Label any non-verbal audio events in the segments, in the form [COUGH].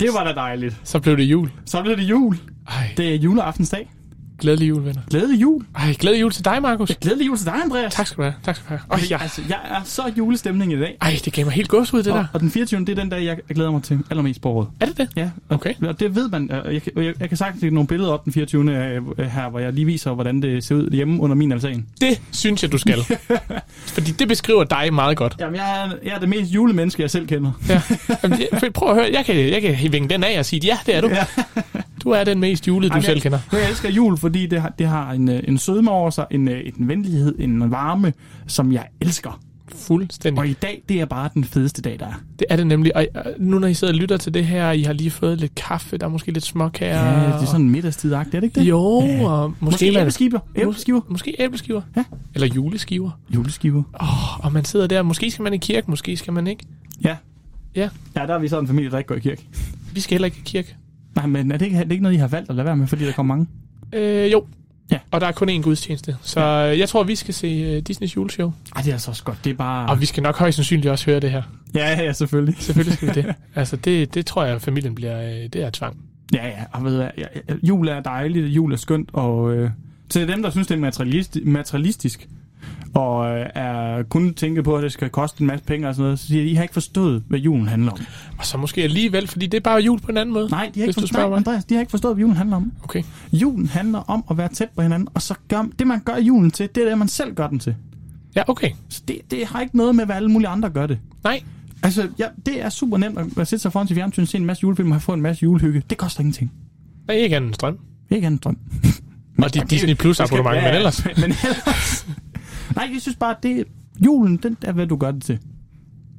Det var da dejligt. Så blev det jul. Så blev det jul. Ej, Det er juleaftensdag. glædelig jul, venner. Glædelig jul. Ej, glædelig jul til dig, Markus. Glædelig jul til dig, Andreas. Tak skal du have. Tak skal du have. Øj, ja. Altså, jeg er så i julestemning i dag. Ej, det gav mig helt gås ud, det der. Og, og den 24. det er den dag, jeg glæder mig til allermest på året. Er det det? Ja, og, Okay. og det ved man. og Jeg, kan- jeg, jeg kan sagtens lægge nogle billeder op den 24. af- af her, hvor jeg lige viser, hvordan det ser ud hjemme under min altan. Det synes jeg, du [LAUGHS] skal. Fordi det beskriver dig meget godt. Jamen, jeg er, jeg er det mest julemenneske, jeg selv kender. Ja. Jamen, jeg- prøv at høre, jeg kan, jeg kan vinge den af og sige, ja, det er du. [LAUGHS] Ja. Du er den mest julede, du Ej, men selv jeg, kender. Jeg elsker jul, fordi det har, det har en, øh, en sødme over sig, en, øh, en venlighed, en varme, som jeg elsker. Fuldstændig. Og i dag, det er bare den fedeste dag, der er. Det er det nemlig. Og øh, nu når I sidder og lytter til det her, I har lige fået lidt kaffe, der er måske lidt småkager. Ja, det er sådan middagstidagtigt, er det ikke det? Jo, og måske, Måske man- æbleskiver. Æbleskiver. Måske æbleskiver. Ja. Eller juleskiver. Juleskiver. Åh, og man sidder der. Måske skal man i kirke, måske skal man ikke. Ja. Ja. Ja, der er vi sådan en familie, der ikke går i kirke. Vi skal heller ikke i kirke. Nej, men er det, ikke, er det ikke noget, I har valgt at lade være med, fordi der kommer mange? Øh, jo. Ja. Og der er kun én gudstjeneste. Så øh, jeg tror, vi skal se uh, Disneys juleshow. Ej, det er så også godt. Det er bare... Og vi skal nok højst sandsynligt også høre det her. Ja, ja, [LAUGHS] selvfølgelig. Selvfølgelig skal vi det. Altså, det, det tror jeg, at familien bliver... Øh, det er tvang. Ja, ja, og ved jeg, ja, ja, jul er dejligt, jul er skønt, og øh, til dem, der synes, det er materialisti- materialistisk, og øh, er kun tænker på, at det skal koste en masse penge og sådan noget, så siger de, I har ikke forstået, hvad julen handler om. Og så måske alligevel, fordi det er bare jul på en anden måde. Nej, de har ikke, hvis du forstået, spørger nej, mig. Andreas, de har ikke forstået, hvad julen handler om. Okay. Julen handler om at være tæt på hinanden, og så gør, det, man gør julen til, det er det, man selv gør den til. Ja, okay. Så det, det har ikke noget med, hvad alle mulige andre gør det. Nej, Altså, ja, det er super nemt at at sætte sig foran til fjernsyn, se en masse julefilm og få en masse julehygge. Det koster ingenting. der er ikke andet end strøm. Ikke andet drøm. [LAUGHS] Og dit Disney Plus abonnement, men [LAUGHS] ellers... Men ellers. Nej, jeg synes bare, det julen, den er, hvad du gør det til.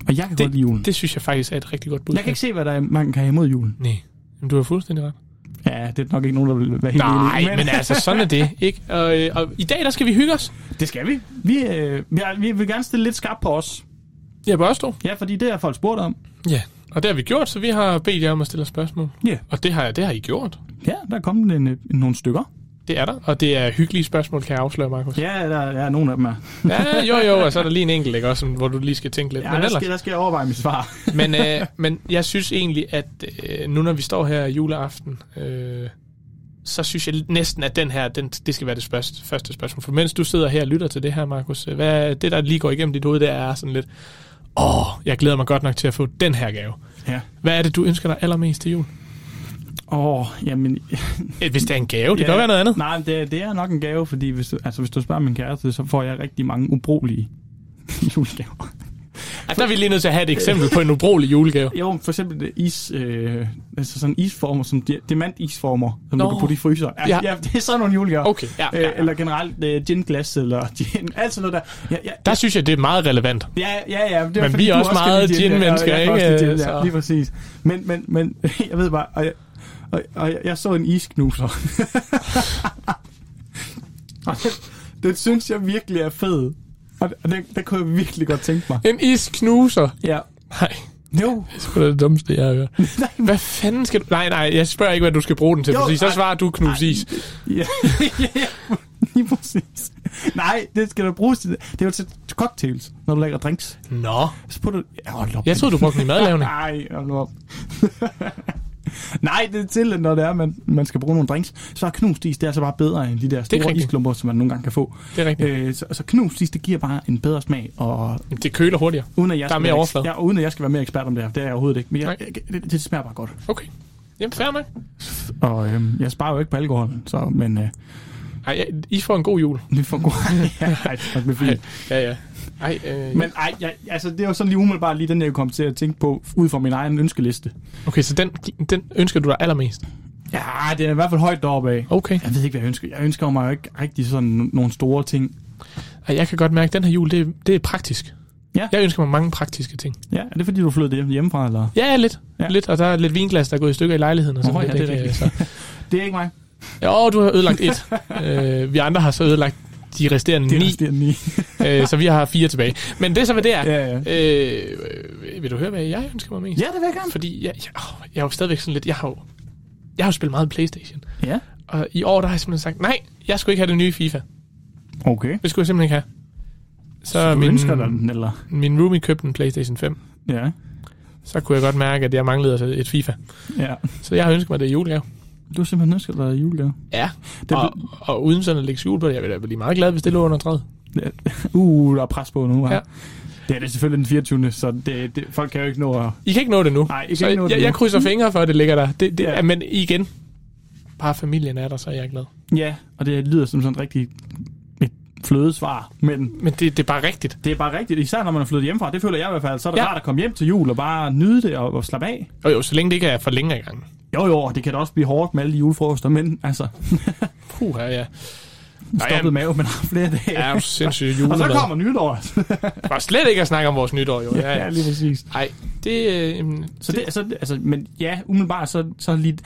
Og jeg kan det, godt lide julen. Det, det synes jeg faktisk er et rigtig godt bud. jeg kan ikke se, hvad der er, man kan have imod julen. Nej, men du har fuldstændig ret. Ja, det er nok ikke nogen, der vil være helt Nej, enige i, men altså, sådan er det, ikke? Og, øh, og i dag, der skal vi hygge os. Det skal vi. Vi, øh, vi, er, vi vil gerne stille lidt skarpt på os. Jeg børstå. Ja, fordi det har folk spurgt om. Ja. Og det har vi gjort, så vi har bedt jer om at stille os spørgsmål. Ja. Og det har, det har I gjort. Ja, der er kommet en, øh, nogle stykker. Det er der, og det er hyggelige spørgsmål, kan jeg afsløre, Markus. Ja, der er nogle af dem er. Ja, jo, jo, og så er der lige en enkelt, ikke? Også, hvor du lige skal tænke lidt. Ja, men der, ellers, skal, der skal jeg overveje mit svar. men, øh, men jeg synes egentlig, at øh, nu når vi står her juleaften, øh, så synes jeg næsten, at den her, den, det skal være det spørgsmål, første spørgsmål. For mens du sidder her og lytter til det her, Markus, øh, hvad, det der lige går igennem dit hoved, det er sådan lidt, åh, jeg glæder mig godt nok til at få den her gave. [LAUGHS] Ja. Hvad er det, du ønsker dig [LAUGHS] allermest til jul? Åh, jamen... Øh, Hvis det er en gave, det ja, kan jo være noget andet. Nej, men det, det er nok en gave, fordi hvis du, altså, hvis du spørger min kæreste, så får jeg rigtig mange ubrugelige [LAUGHS] julegaver. Ah, der er vi lige nødt til at have et eksempel på en ubrugelig julegave. Jo, for eksempel det is, øh, altså sådan isformer, som di- diamantisformer, som Nå. du kan putte i fryser. Ja, Ja. ja. ja, det er sådan nogle julegaver. Okay, ja, ja, ja. Øh, eller generelt øh, ginglas eller gin, alt sådan noget der. Ja, ja, Der synes jeg, det er meget relevant. ja, ja, ja, det Men fordi, vi er du også kan meget lide øh, ja, gin-mennesker, og jeg kan også ikke? lide Gin, Så- ja, lige præcis. Men, men, men [LAUGHS] jeg ved bare, og jeg, og, og jeg, jeg så en isknuser. [LAUGHS] og den, den synes jeg virkelig er fed. Og og den, den kunne jeg virkelig godt tænke mig. En isknuser. Ja. Nej, Jo, det er sgu da det dummeste, jeg har [LAUGHS] hørt. Hvad fanden skal du... Nej, nej, jeg spørger ikke, hvad du skal bruge den til. Jo, Jo, præcis. Så nej. svarer du knus [LAUGHS] is. Ja, [LAUGHS] ja, lige præcis. Nej, det skal du bruges til. Det er jo til cocktails, når du laver drinks. Nå. Så putter du... Ja, Hold op. Jeg troede, du brugte den i madlavning. Nej, hold nu op. [LAUGHS] Nej, det er til, når det er, man, man skal bruge nogle drinks. Så er knust is, det er altså bare bedre end de der store rigtigt. isklumper, som man nogle gange kan få. Det er rigtigt. Øh, så, så knust is, det giver bare en bedre smag, og Det køler hurtigere. uden at jeg, Der er skal mere være, overflade. eks- ja, og uden at jeg skal være mere ekspert om det her, det er jeg overhovedet ikke. Men jeg, Nej. jeg, det, det, smager bare godt. Okay. Jamen, fair nok. Og øhm, jeg sparer jo ikke på alkoholen, så, men øh, [LAUGHS] Ej, ja, I får en god jul. vi får god... [LAUGHS] ja, ej, det er fint. Ja, ja. Ej, øh, Men ej, jeg, altså, det er jo sådan lige umiddelbart lige den, jeg kom til at tænke på, ud fra min egen ønskeliste. okay, så den, den ønsker du dig allermest. Ja, det er i hvert fald højt deroppe af. Okay. Jeg ved ikke, hvad jeg ønsker. Jeg ønsker mig jo ikke rigtig sådan nogle store ting. Ej, jeg kan godt mærke, at den her jul, det, er- det er praktisk. Ja. Jeg ønsker mig mange praktiske ting. Ja, er det fordi, du flyttede hjem- hjemmefra, eller? Ja, lidt. Ja. Ja. Lidt, og der er lidt vinglas, der er gået i stykker i lejligheden. Og sådan Nå, ja, det lidt, er ikke? rigtigt. Så. Det er ikke mig. Jo, du har ødelagt [LAUGHS] et. øh, vi andre har så ødelagt de resterende Det er ni, resterende ni. øh, så vi har fire tilbage. Men det er så, hvad det er. [LAUGHS] Ja, ja. Øh, øh, vil du høre, hvad jeg ønsker mig mest? ja, det vil jeg gerne. Fordi jeg, jeg, åh, jeg er jo stadigvæk sådan lidt... Jeg har jo, jeg har jo spillet meget Playstation. Ja. Og i år, der har jeg simpelthen sagt, nej, jeg skulle ikke have det nye FIFA. Okay. Det skulle jeg simpelthen ikke have. Så, Du min, ønsker dig den, eller? min roomie købte en Playstation 5. Ja. så kunne jeg godt mærke, at jeg manglede altså et FIFA. Ja. Så jeg har ønsket mig det i julegave. Du har simpelthen ønsket dig julegave. Ja, Det og, og uden sådan at lægge skjul på det, jeg ville da blive meget glad, hvis det lå under 30. Uh, der er pres på nu. Ja. Ja. Det er det selvfølgelig den 24. Så det, det, folk kan jo ikke nå at... I kan ikke nå det nu. Nej, I kan så ikke nå det jeg, nu. Mm. jeg krydser fingre for, at det ligger der. Det, det, Ja. ja. Men igen, bare familien er der, så er jeg glad. Ja, og det lyder som sådan rigtig et flødesvar. Men Men det, det er bare rigtigt. det er bare rigtigt, især når man er flyttet hjemmefra. Det føler jeg i hvert fald. Så er det ja. Ja. rart at komme hjem til jul og bare nyde det og, og slappe af. Og jo, så længe det ikke er for længe i gang. Jo, jo, og det kan da også blive hårdt med alle de julefrokoster, men altså, Puh, ja. ja. [LAUGHS] stoppet jeg- mave, men har flere dage. Ja, Ja, er jo sindssygt [LAUGHS] og så julemad. kommer nytår. [LAUGHS] Bare slet ikke at snakke om vores nytår, jo. Ja, ja. lige præcis. Ej, det... Øh, jamen, Så det, så, det- altså, men ja, umiddelbart så, så lidt...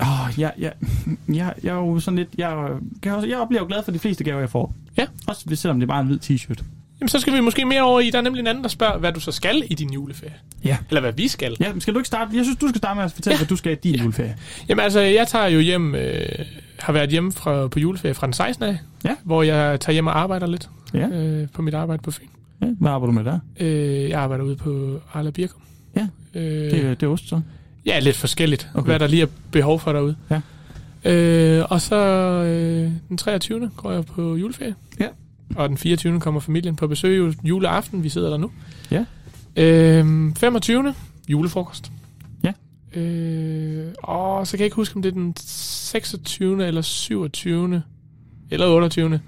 Åh, jeg, jeg, jeg, jeg er jo sådan lidt... Jeg, kan også, jeg oplever jo glad for de fleste gaver, jeg får. Ja. Også hvis- selvom det er bare en hvid t-shirt. jamen, så skal vi måske mere over i... Der er nemlig en anden, der spørger, hvad du så skal i din juleferie. Ja. Eller hvad vi skal. Ja, men skal du ikke starte? Jeg synes, du skal starte med at fortælle, ja. hvad du skal i din ja. juleferie. Jamen altså, jeg tager jo hjem... Øh, har været hjemme fra, på juleferie fra den 16. af. Ja. Hvor jeg tager hjem og arbejder lidt. Ja. Øh, på mit arbejde på Fyn. Ja, hvad arbejder du med der? Øh, jeg arbejder ude på Arla Birkum. Ja. Øh, Det, er- det er ost, så. Ja, lidt forskelligt, Okay. okay. hvad der lige er behov for derude. Ja. Øh, og så øh, den 23. går jeg på juleferie. Ja. Og den 24. kommer familien på besøg ju- juleaften, vi sidder der nu. Ja. Øh, 25. julefrokost. Ja. Øh, og så kan jeg ikke huske, om det er den 26. eller 27. eller 28.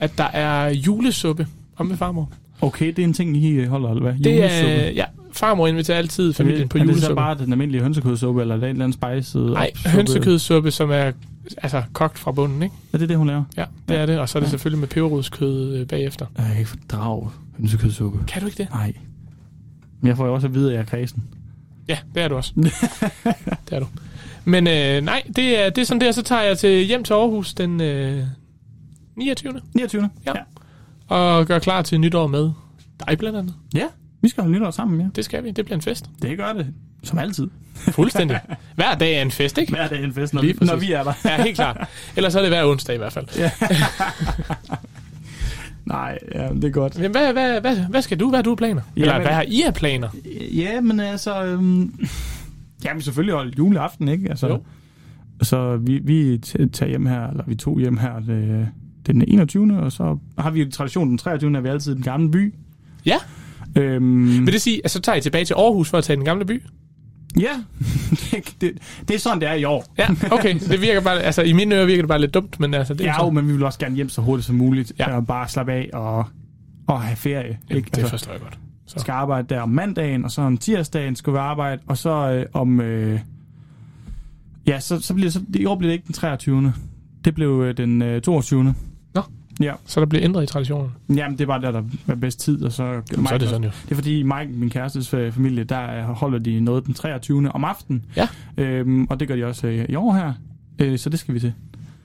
at der er julesuppe om med farmor. Okay, det er en ting, I holder, eller hvad? Det Julesuppe. er, ja, farmor inviterer altid familien på er det så julesuppe. bare den almindelige hønsekødssuppe, eller er det en eller anden spiced Nej, opsuppe? hønsekødssuppe, som er altså kogt fra bunden, ikke? Er det det, hun laver? Ja, det er det. Og så er det Ja. selvfølgelig med peberrodskød øh, bagefter. Jeg kan ikke fordrage hønsekødssuppe. Kan du ikke det? Nej. Men jeg får jo også at vide, at jeg er kredsen. Ja, det er du også. det er du. Men øh, nej, det er, det er sådan der. Så tager jeg til hjem til Aarhus den øh, 29. 29. Ja. ja. Og gør klar til nytår med dig blandt andet. Ja, vi skal holde nytår sammen, ja. Det skal vi. Det bliver en fest. Det gør det. Som altid. Fuldstændig. Hver dag er en fest, ikke? Hver dag er en fest, når, Lige vi, når præcis. vi er der. Ja, helt klart. Ellers er det hver onsdag i hvert fald. Nej, ja, det er godt. Jamen, hvad, hvad, hvad, hvad skal du? Hvad har du af planer? Ja, Eller men- hvad har I af planer? Ja, men altså... Øhm, jamen, selvfølgelig holde juleaften, ikke? Altså, Jo. Så vi, vi t- tager hjem her, eller vi tog hjem her det, den 21. Og så har vi jo tradition den 23. er vi altid i den gamle by. Ja. Øhm, Vil det sige, at så tager I tilbage til Aarhus for at tage i den gamle by? Ja, [LAUGHS] det, det, det er sådan, det er i år. Ja, okay. Det virker bare, altså i mine ører virker det bare lidt dumt, men altså det er Ja, så- jo, men vi vil også gerne hjem så hurtigt som muligt, ja. Ja. og bare slappe af og, og have ferie. Jamen, Ikke? det Altså, forstår jeg godt. skal arbejde der om mandagen, og så om tirsdagen skal vi arbejde, og så øh, om... Øh, ja, så, så bliver så, i år bliver det ikke den 23. Det blev øh, den øh, 22. Så der bliver ændret i traditionen. Jamen, det var der, der var bedst tid, og så... Jamen, så er det Mike- sådan jo. Det er fordi Mike, min kærestes øh, familie, der øh, holder de noget den 23. om aftenen. Ja. Øhm, og det gør de også øh, i år her. Øh, så det skal vi til.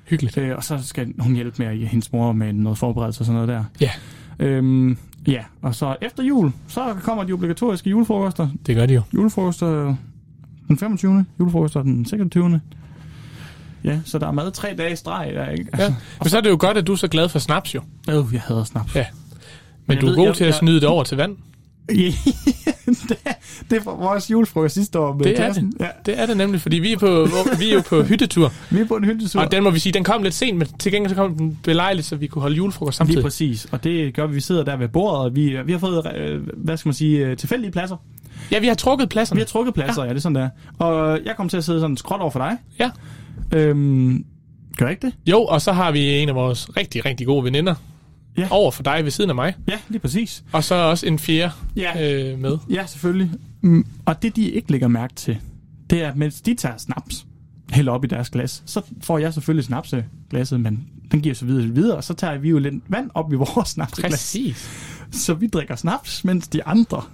Hyggeligt. Øh, og så skal hun hjælpe med at- hendes mor med noget forberedelse og sådan noget der. Ja. Øhm, ja, og så efter jul, så kommer de obligatoriske julefrokoster. Det gør de jo. Julefrokoster øh, den 25. Julefrokoster den 26. Ja, så der er mad tre dage i streg der, ikke? Ja. Men så er det jo godt, at du er så glad for snaps jo. Øh, jeg hader snaps. [LAUGHS] Ja. Men jeg du er ved- god jeg- til at jeg- snyde det over til vand. det, det var vores julefrokost sidste år med Det er klassen. Ja, Det er det nemlig, fordi vi er, på, hvor- vi er jo på [LAUGHS] hyttetur. vi er på en hyldetur. Og den må vi sige, den kom lidt sent, men til gengæld så kom den belejligt, så vi kunne holde julefrokost Lige samtidig. præcis, og det gør vi. Vi sidder der ved bordet, og vi, vi har fået, øh, hvad skal man sige, øh, tilfældige pladser. Ja, vi har trukket Vi pladserne. har trukket pladser, ja. ja, det er sådan der. Og jeg kom til at sidde sådan skråt over for dig. Ja. Øhm, gør jeg ikke det? Jo, og så har vi en af vores rigtig, rigtig gode veninder Ja. over for dig ved siden af mig. Ja, lige præcis. Og så også en fjerde Ja, øh. øh, med. ja selvfølgelig. Mm, og det, de ikke lægger mærke til, det er, at mens de tager snaps, hælder op i deres glas, så får jeg selvfølgelig snapseglasset, men den giver så videre, videre, og så tager vi jo lidt vand op i vores [LAUGHS] snapseglas. Præcis. Så vi drikker snaps, mens de andre [LAUGHS]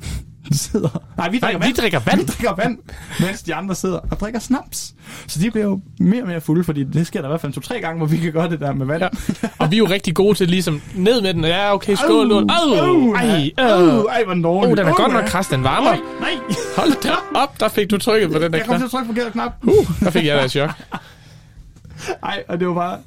sidder... Nej, vi Nej, drikker vi vand. drikker vand. Vi drikker vand, mens de andre sidder og drikker snaps. Så de bliver jo mere og mere fulde, fordi det sker der i hvert fald to-tre gange, hvor vi kan gøre det der med vand. Ja. Og vi er jo rigtig gode til ligesom, ned med den, ja, okay, skål, lort. Au, ej, øh. øh. ej, hvor dårlig. Oh, den er Åh, godt ja. nok kras, den varmer. Nej, Hold da op, der fik du trykket på den der jeg kom knap. til at trykke på forkert knap. Uh, der fik jeg da et chok. [LAUGHS] Ej, og det var bare...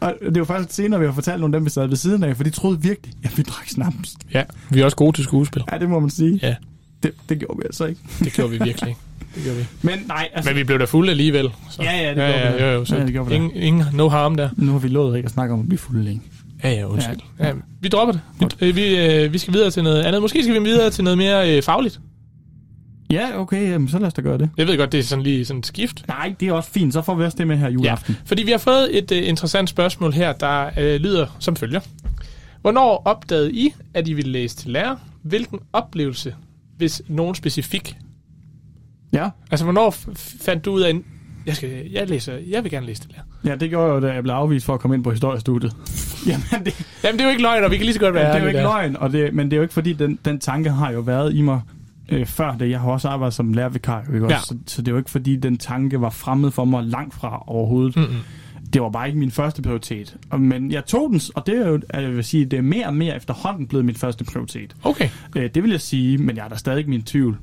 Og det var faktisk senere, vi har fortalt nogle af dem, vi sad ved siden af, for de troede virkelig, at vi drak snaps. Ja, vi er også gode til skuespil. Ja, det må man sige. Ja. det, det gjorde vi altså ikke. Det gjorde vi virkelig ikke. Det gjorde vi. Men nej, altså, Men vi blev da fulde alligevel. Så. Ja, ja, det ja, gjorde vi ja, da. jo, jo, så Ja, det gjorde vi da. ingen, ingen, no harm der. nu har vi lovet ikke at snakke om at blive fulde længe. Ja, ja, undskyld. Ja. Ja, vi dropper det. Vi, øh, vi, øh, vi skal videre til noget andet. Måske skal vi videre til noget mere øh, fagligt. Ja, okay, jamen, så lad os da gøre det. Jeg ved godt, det er sådan lige sådan et skift. Nej, det er også fint. Så får vi også det med her juleaften. Ja, fordi vi har fået et øh, interessant spørgsmål her, der øh, lyder som følger. Hvornår opdagede I, at I ville læse til lærer? Hvilken oplevelse, hvis nogen specifik? Ja. Altså, hvornår f- fandt du ud af, en, jeg, skal, jeg, læser, jeg vil gerne læse til lærer? ja, det gjorde jeg jo, da jeg blev afvist for at komme ind på historiestudiet. [LAUGHS] jamen, det, Jamen, det er jo ikke løgn, og vi kan lige så godt være Jamen, det er jo ærlige ikke løgn, der. og det, men det er jo ikke fordi, den, den tanke har jo været i mig øh, før det. Jeg har også arbejdet som lærervikar, jo, ikke? Ja. Ja. Så, så det er jo ikke fordi, den tanke var fremmed for mig langt fra overhovedet. Mm-hmm. Det var bare ikke min første prioritet. Og- Men jeg tog den, og det er jo, at jeg vil sige, det er mere og mere efterhånden blevet min første prioritet. Okay. Øh, det vil jeg sige, men jeg er da stadig min tvivl.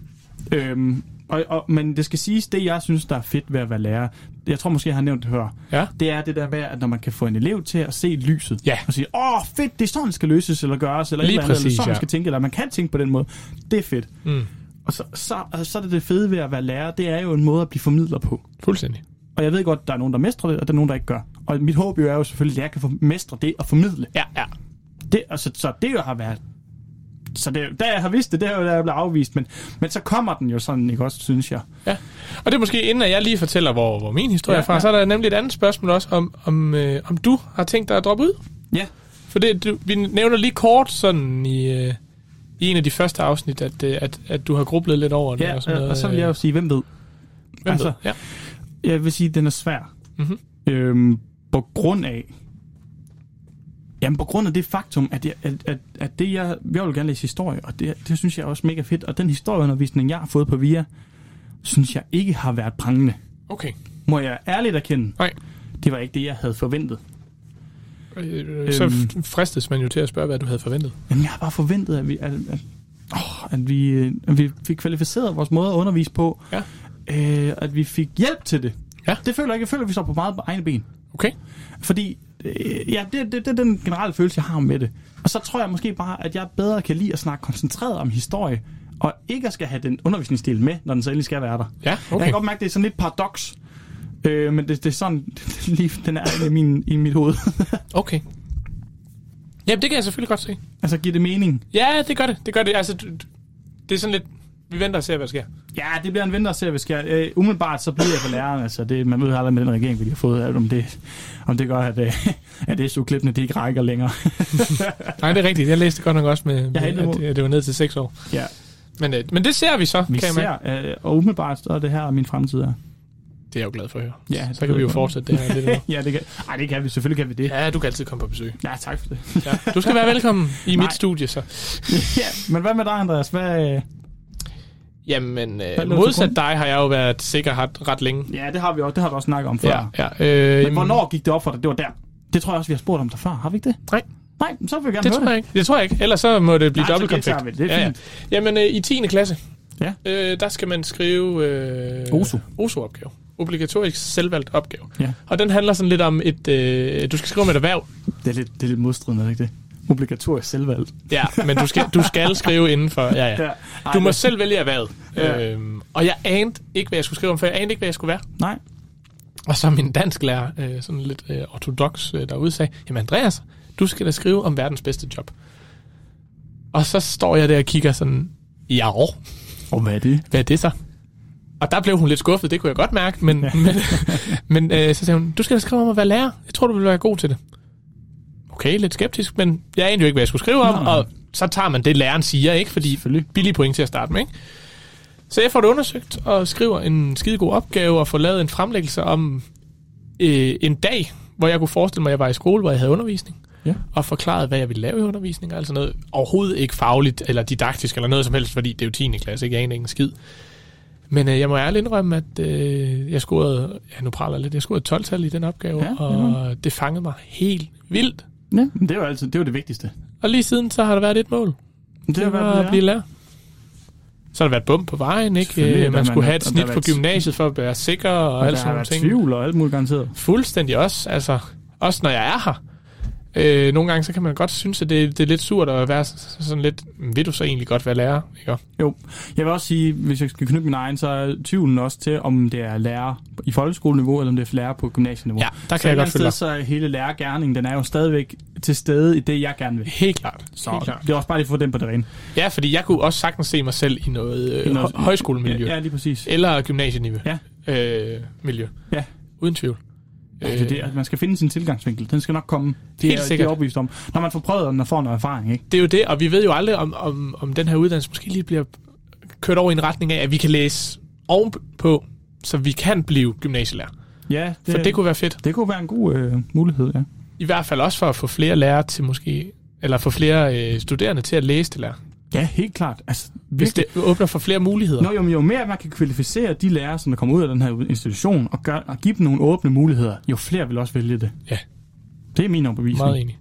Øhm, og, og, men det skal siges, det jeg synes, der er fedt ved at være lærer, jeg tror måske, jeg har nævnt det før, Ja. det er det der med, at når man kan få en elev til at se lyset, Ja. og sige, åh fedt, det er sådan, det skal løses, eller gøres, eller, et Lige eller, andet, præcis, eller sådan, ja. ja. skal tænke, eller man kan tænke på den måde, det er fedt. Mm. Og så, så, og så er det det fede ved at være lærer, det er jo en måde at blive formidler på. Fuldstændig. Og jeg ved godt, der er nogen, der mestrer det, og der er nogen, der ikke gør. Og mit håb jo er jo selvfølgelig, at jeg kan for- mestre det og formidle. Ja, ja. Det, og så, så det jo har været... Så det, da jeg har vidst det, det er jo, da jeg blev afvist. Men, men så kommer den jo sådan, ikke også, synes jeg. Ja. Og det er måske inden, at jeg lige fortæller, hvor, hvor min historie ja, Ja, er fra, ja. ja. så er der nemlig et andet spørgsmål også, om, om, øh, om du har tænkt dig at droppe ud? Ja. For det, du, vi nævner lige kort sådan i, øh, i en af de første afsnit, at, øh, at, at du har grublet lidt over det. Ja, og, sådan og så vil jeg jo sige, hvem ved? hvem altså, altså- ved? Ja. Jeg vil sige, at den er svær. Mhm. Øhm, på grund af... Jamen, på grund af det faktum, at, jeg, at, at, at det, jeg, jeg vil gerne læse historie, og det, det synes jeg er også mega fedt. Og den historieundervisning, jeg har fået på VIA, synes jeg ikke har været prangende. Okay. Må jeg ærligt erkende, Nej. det var ikke det, jeg havde forventet. Øh, Øhm. Så f- fristes man jo til at spørge, hvad du havde forventet. Jamen, jeg har bare forventet, at vi, at, at, åh, at vi, øh, at vi fik kvalificeret vores måde at undervise på. Ja. Øh, at vi fik hjælp til det. Ja. Det føler jeg ikke. Jeg føler, at vi står på meget på egne ben. Okay. Fordi, øh, ja, det, det, det er den generelle følelse, jeg har med det. Og så tror jeg måske bare, at jeg bedre kan lide at snakke koncentreret om historie, og ikke at skal have den undervisningsdel med, når den så endelig skal være der. Ja, Jeg okay. kan godt mærke, at det er sådan lidt paradoks. Øh, men det, det er sådan, [LAUGHS] lige, den er i, min, i mit hoved. [LAUGHS] okay. Jamen, det kan jeg selvfølgelig godt se. altså, giver det mening? Ja, det gør det. Det gør det. Altså, du- du- det er sådan lidt... Vi venter og ser, hvad der sker. Ja, det bliver en vinter, ser vi skal. Øh, umiddelbart så bliver jeg for læreren. Altså, det, man ved aldrig med den regering, vi lige har fået, at om det, om det gør, at, øh, [LAUGHS] at SU-klippene de ikke rækker længere. Nej, det er rigtigt. Jeg læste godt nok også med, med Jeg har intet at, mod. at det var ned til 6 år. [LAUGHS] ja, Men, øh, men det ser vi så, vi kan jeg mærke. ser, øh, og umiddelbart så er det her, min fremtid er. Det er jeg jo glad for at høre. Ja, Så kan vi jo fortsætte det her lidt endnu. [LAUGHS] ja, det kan, ej, det kan vi. Selvfølgelig kan vi det. Ja, [LAUGHS] Ja, du kan altid komme på besøg. ja tak for det. [LAUGHS] Ja. Du skal være velkommen i Nej. mit studie, så. ja, men hvad med dig, Andreas? Hvad, øh, Jamen, lå øh, til modsat grund? dig har jeg jo været sikker ret, ret længe. ja, det har vi også, det har vi også snakket om før. Ja. ja. Øh, Men hvornår gik det op for dig? Det var der. Det tror jeg også, vi har spurgt om dig før. Har vi ikke det? Nej. Nej, men så vil vi gerne Det høre tror jeg ikke. Det tror jeg ikke. Ellers så må det blive Nej, så dobbelt gentager konfekt. vi det. Det er Ja. Jamen, øh, i 10. klasse, Ja. øh, der skal man skrive... Øh, OSU. OSU-opgave. Obligatorisk selvvalgt opgave. Ja. Og den handler sådan lidt om et... Øh, du skal skrive om et erhverv. Det er lidt, det er lidt modstridende, er det ikke det? Obligatorisk selvvalgt. Ja, men du skal, du skal skrive indenfor. Ja, ja. Ja. [LAUGHS] Ej, Du må det- selv vælge erhvervet. Ja. Øhm, og jeg anede ikke, hvad jeg skulle skrive om, for jeg anede ikke, hvad jeg skulle være. Nej. Og så min dansklærer, øh, sådan lidt øh, ortodox, øh, derude sagde, jamen Andreas, du skal da skrive om verdens bedste job. Og så står jeg der og kigger sådan, ja, Og hvad er det? hvad er det så? Og der blev hun lidt skuffet, det kunne jeg godt mærke, men, ja. [LAUGHS] men, men øh, så sagde hun, du skal da skrive om at være lærer, jeg tror, du vil være god til det. Okay, lidt skeptisk, men jeg anede jo ikke, hvad jeg skulle skrive om, Nej. og så tager man det, læreren siger, ikke? Fordi billige point til at starte med, ikke? Så jeg får det undersøgt og skriver en skidegod opgave og får lavet en fremlæggelse om øh, en dag, hvor jeg kunne forestille mig, at jeg var i skole, hvor jeg havde undervisning. Ja. Og forklarede, hvad jeg ville lave i undervisning, altså noget overhovedet ikke fagligt eller didaktisk eller noget som helst, fordi det er jo 10. klasse, ikke? Jeg aner ikke en skid. Men øh, jeg må ærligt indrømme, at øh, jeg scorede, ja nu praler jeg lidt, jeg scorede 12 tal i den opgave, Ja, og det fangede mig helt vildt. Ja, men det er jo altid, det er jo det vigtigste. Og lige siden, så har der været et mål. Det, Det var at blive lærer. Så har der været bum på vejen, ikke? Selvfølgelig, Øh, der Man skulle man- have et og der snit har på været tvivl. gymnasiet for at være sikker og, og og alt der sådan har Altså, nogle været ting. tvivl og alt muligt garanteret. Fuldstændig også, altså også når jeg er her. Øh, nogle gange så kan man godt synes, at det, det er lidt surt at være så- sådan lidt, "Men vil du så egentlig godt være lærer? Ikke? Jo, jeg vil også sige, hvis jeg skal knytte min egen, så er tvivlen også til, om det er lærer i folkeskoleniveau, eller om det er lærer på gymnasieniveau. Ja, der så kan jeg godt følge sted, dig. så er hele lærergærningen, den er jo stadigvæk til stede i det, jeg gerne vil. Helt klart. Så Helt klart. det er også bare lige at få den på det rene. Ja, fordi jeg kunne også sagtens se mig selv i noget, øh, I noget- hø- højskolemiljø. Ja, ja, lige præcis. Eller gymnasieniveau. Ja. Øh, miljø. Ja. Uden tvivl. Ja, det er det, at man skal finde sin tilgangsvinkel. Den skal nok komme. Det Øh, Helt er, Det sikkert. er overbevist om. Når man får prøvet den og får noget erfaring, ikke? det er jo det, og vi ved jo aldrig, om, om, om den her uddannelse måske lige bliver kørt over i en retning af, at vi kan læse ovenpå, så vi kan blive gymnasielærer. Ja, For det kunne være fedt. det kunne være en god øh, mulighed, ja. I hvert fald også for at få flere lærere til måske, eller få flere øh, studerende til at læse til lærer. Ja, helt klart. Altså, Hvis virkelig. det åbner for flere muligheder. Nå, jo, men jo mere man kan kvalificere de lærere, som der kommer ud af den her institution, og, gør, og give dem nogle åbne muligheder, jo flere vil også vælge det. Ja. Det er min Meget overbevisning. enig.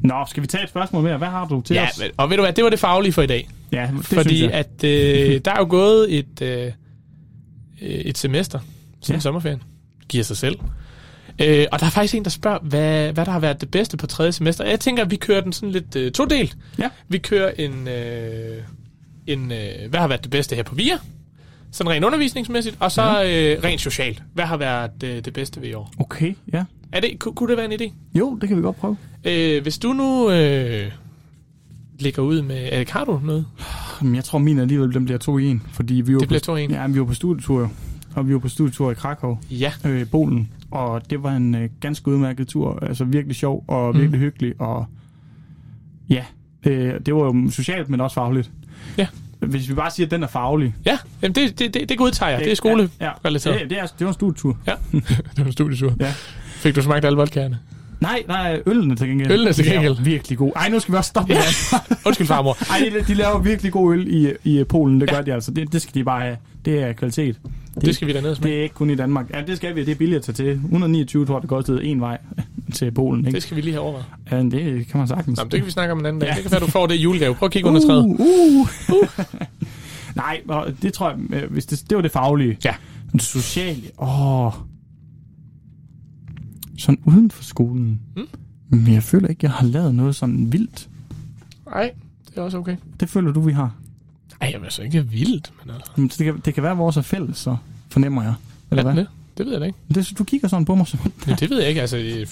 Nå, skal vi tage et spørgsmål mere? Hvad har du til Ja, os? men- og ved du hvad, det var det faglige for i dag. Ja, det Fordi synes jeg. at øh, der er jo gået et, øh, øh, et semester siden Ja. ja. sommerferien. Giver sig selv. Øh, og der er faktisk en, der spørger, hvad, hvad der har været det bedste på tredje semester. Jeg tænker, at vi kører den sådan lidt øh, todelt. Ja. Vi kører en, øh, en øh, hvad har været det bedste her på VIA? Sådan rent undervisningsmæssigt. Og så ja. øh, rent socialt. Hvad har været øh, det bedste ved i år? Okay, ja. Er det, ku, kunne det være en idé? Jo, det kan vi godt prøve. Øh, hvis du nu øh, ligger ud med... Øh, har du noget? Jamen, jeg tror, min alligevel den bliver to i en. Fordi vi var Det bliver på, to en. Ja, men vi var på studietur, jo. og vi var på studietur i Krakow. Ja. øh, i Polen, og det var en øh, ganske udmærket tur, altså virkelig sjov og virkelig mm. hyggelig, og ja, øh, det var jo socialt, men også fagligt. Ja. Hvis vi bare siger, at den er faglig. Ja, jamen det, det, det, det godtager jeg. Det er skole. Ja, ja. Det, relateret. er- det, er, det var en studietur. Ja. [LAUGHS] det var en studietur. Ja. Fik du smagt alle vodkagerne? Nej, nej, øllene til gengæld. Øllene til De er jo gengæld. virkelig god. Ej, nu skal vi også stoppe med det. Undskyld, [LAUGHS] farmor. Ej, de, de laver virkelig god øl i, i Polen, det gør de altså. Det, det skal de bare have. Det er kvalitet. Det skal vi da ned og smage. Det er ikke kun i Danmark. Ja, det skal vi. Det er billigt at tage til. 129 tror jeg, det kostede en vej til Polen. Ikke? Det skal vi lige have overvejet. Ja, men det kan man sagtens. Nå, men det kan vi snakke om en anden dag. Ja. Det kan være, du får det i julegave. Prøv at kigge under træet. Uh, uh. [LAUGHS] Nej, og det tror jeg, øh, hvis det, det var det faglige. Ja. Det sociale, åh. Sådan uden for skolen. Mm. Men jeg føler ikke, jeg har lavet noget sådan vildt. Nej, det er også okay. Det føler du, vi har. Ej, jamen altså ikke vildt, men altså. Jamen, Det kan, det kan være, vores er fælles, så fornemmer jeg. Eller Er den hvad? det? Det ved jeg da ikke. Det, du kigger sådan på mig, som Men det ved jeg ikke, altså. øh,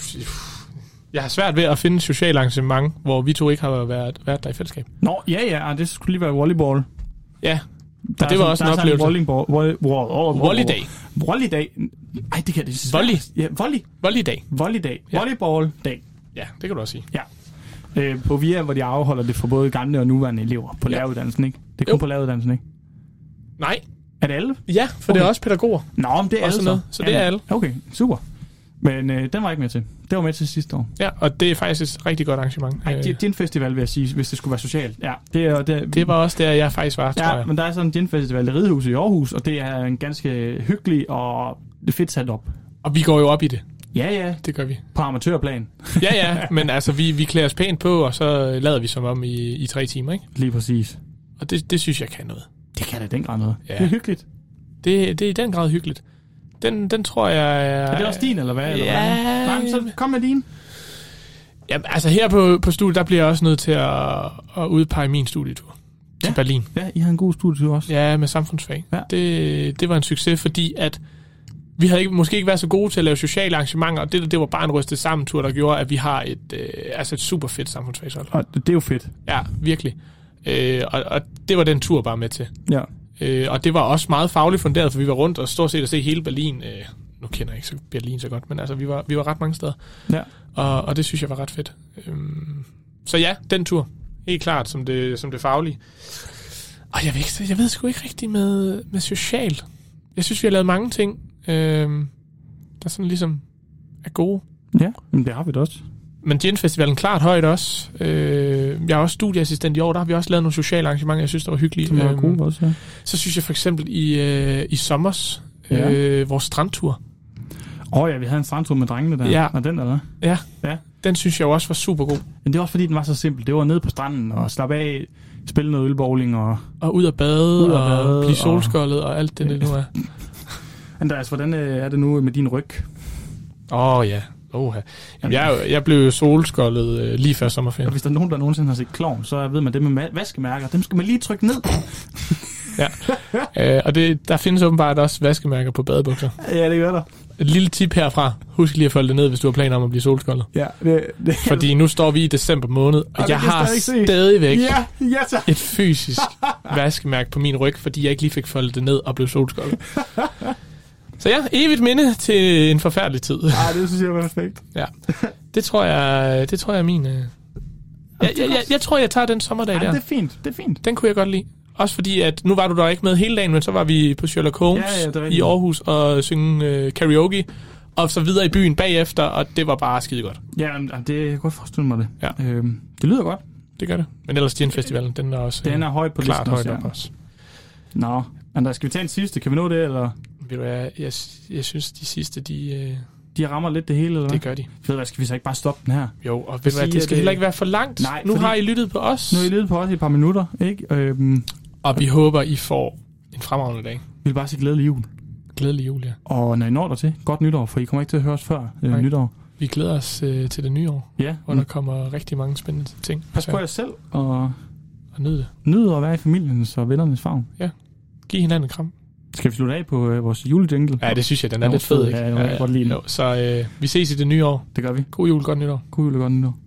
Jeg har svært ved at finde et socialt arrangement, hvor vi to ikke har været, været der i fællesskab. Nå, ja, ja, ah, det skulle lige være volleyball. Ja, Der det var også en oplevelse. Volleyball, volley, volley, volley, volleydag. Volleydag. Ej, det kan det. er svært. Volley. Ja, volley. Volleydag. Volleydag. Ja. Volleyball-dag. Ja, det kan du også sige. Ja. Øh, på VIA, hvor de afholder det for både gamle og nuværende elever på ja. Ja. læreruddannelsen, ikke? Det er kun Jo. på læreruddannelsen, ikke? Nej, Er det alle? ja, for okay. det er også pædagoger. Nå, men det er Og alle sådan noget. Så det er alle. Okay, super. Men øh, den var jeg ikke med til. Det var med til sidste år. Ja, og det er faktisk et rigtig godt arrangement. Ej, Øh, øh. din festival, vil jeg sige, hvis det skulle være socialt. Ja, det er... Det, er, Det var også der, jeg faktisk var, tror Ja, jeg. men der er sådan en gin festival i Ridehuset i Aarhus, og det er en ganske hyggelig og fedt sat op. Og vi går jo op i det. Ja, ja, Det gør vi. på amatørplan. Ja, [LAUGHS] ja, men altså, vi, vi klæder os pænt på, og så lader vi som om i, i tre timer, ikke? Lige præcis. Og det, det synes jeg kan noget. Det kan da i den grad noget. Ja. Det er hyggeligt. Det, det er i den grad hyggeligt. Den, den tror jeg... Er det også din, eller hvad? Eller Ja. hvad? Nej, så kom med din. Jamen, altså her på, på studiet, der bliver jeg også nødt til at, at udpege min studietur til Ja. Berlin. Ja, I havde en god studietur også. Ja, med samfundsfag. Ja. Ja. Det, det var en succes, fordi at vi havde ikke, måske ikke været så gode til at lave sociale arrangementer, og det, det var bare en rystet sammentur, der gjorde, at vi har et, øh, altså et super fedt samfundsfagshold. Og det er jo fedt. Ja, virkelig. Øh, og, og det var den tur bare med til. Ja. Øh, og det var også meget fagligt funderet, for vi var rundt og stort set at se hele Berlin. Øh, nu kender jeg ikke så Berlin så godt, men altså, vi var, vi var ret mange steder. Ja. Og, og det synes jeg var ret fedt. Øhm, så ja, den tur. Helt klart, som det, som det faglige. Og jeg ved, ikke, jeg ved sgu ikke rigtigt med, med social. Jeg synes, vi har lavet mange ting, øhm, der sådan ligesom er gode. Ja, men det har vi da også. Men Gin Festivalen klart højt også. Øh, jeg er også studieassistent i år, der har vi også lavet nogle sociale arrangementer, jeg synes, der var hyggelige. Som er Øhm, gode også, ja. Så synes jeg for eksempel i, øh, i sommers, Ja. ja. øh, vores strandtur, Åh oh, ja, vi havde en strandtur med drengene der. Ja. Og den der, den synes jeg jo også var super god. Men det var også fordi, den var så simpel. Det var nede på stranden og slappe af, spille noget ølbowling og... Og ud og bade, Ud at ud og, og bade, blive og- solskoldet og alt det, det nu er. Andreas, hvordan øh, er det nu med din ryg? Åh oh, ja, Oha. Jamen, jeg, er jo- jeg blev jo solskoldet øh, lige før Og sommerferien. hvis der er nogen, der nogensinde har set klovn, så ved man det med ma- vaskemærker. Dem skal man lige trykke ned. Øh, og det, der findes åbenbart også vaskemærker på badebukser. Ja, det gør der. Et lille tip herfra. Husk lige at folde det ned, hvis du har planer om at blive solskoldet. Ja, det, [LAUGHS] det, Fordi nu står vi i december måned, og, Og og det jeg kan har jeg stadig se. stadigvæk ja, ja tak. et [LAUGHS] fysisk vaskemærke på min ryg, fordi jeg ikke lige fik foldet det ned og blev solskoldet. Så ja, evigt minde til en forfærdelig tid. Ej, det synes jeg er perfekt. Det tror jeg, det tror jeg er min... øh, Jeg, jeg, jeg, jeg tror, jeg tager den sommerdag Ej, der. det er fint, det er fint. Den kunne jeg godt lide. Også fordi, at nu var du der ikke med hele dagen, men så var vi på Sherlock Holmes Ja, ja, det er i rigtigt. Aarhus og synge øh, karaoke, og så videre i byen bagefter, og det var bare skide godt. Ja, men, ah, det jeg kan godt forestille mig det. Ja. Øhm, det lyder godt. Det gør det. Men ellers Gin Festivalen, den er også øh, Den er højt på klart listen højt også. op også. Ja. Nå, Andreas, skal vi tage en sidste? Kan vi nå det, eller Ved du hvad, jeg, jeg synes, de sidste, de, øh, de rammer lidt det hele, eller hvad? det gør de. Ved du hvad, skal vi så ikke bare stoppe den her? Jo, og ved du hvad, Sige, det skal at, heller øh, ikke være for langt. nej, nu fordi- har I lyttet på os, Nu har I lyttet på os i et par minutter, ikke? Øhm, og vi håber, I får en fremragende dag. vi vil bare sige glædelig jul. Glædelig jul, ja. Og når I når der til, godt nytår, for I kommer ikke til at høre os før øh, Nej. nytår. Vi glæder os øh, til det nye år, Ja, hvor mm. der kommer rigtig mange spændende ting. pas på Så- jer selv, og Og nyd det. nyd at være i familiens og vennernes favn. Giv hinanden en kram. Skal vi slutte af på øh, vores julejingle? Ja, det synes jeg, den er Den er lidt fed, fed, ikke? ja, den kan jeg godt lide den. Jo, så øh, vi ses i det nye år. det gør vi. God jul, godt nytår. God jul og godt nytår.